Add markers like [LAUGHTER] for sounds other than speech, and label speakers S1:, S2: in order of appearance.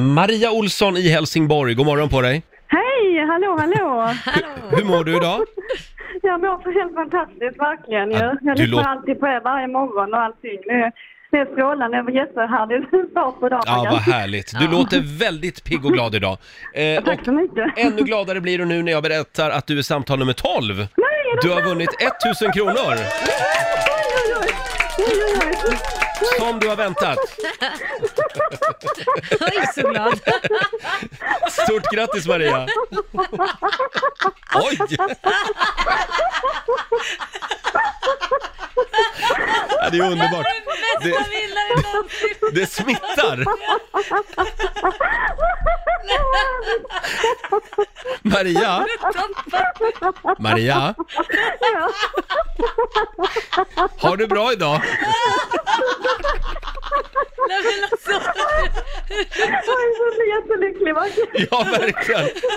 S1: Maria Olsson i Helsingborg, god morgon på dig.
S2: Hej, hallå,
S1: [LAUGHS]
S2: hallå!
S1: Hur mår du idag?
S2: Jag mår så helt fantastiskt, verkligen ju.
S1: Ja, du
S2: Jag lyssnar
S1: låter-
S2: alltid på er varje morgon och allting. Det är- Det är strålande, det var jättehärligt start på dagen.
S1: Ja, vad härligt. Du
S3: Ja.
S1: låter väldigt pigg och glad idag. Eh, och
S2: Tack så mycket.
S1: ännu gladare blir du nu när jag berättar att du är samtal nummer 12. Du har vunnit 1000 kronor,
S2: Oj, oj, oj, oj, oj, oj.
S1: som du har väntat.
S3: [LAUGHS] Jag är så glad.
S1: Stort grattis Maria! Oj! Ja, det är underbart. Det,
S3: vinnare någonsin.
S1: det smittar! Maria! Maria! Har du bra idag?
S3: Nej, men alltså.
S2: Jag är så jättelycklig, verkligen.
S1: Ja, verkligen!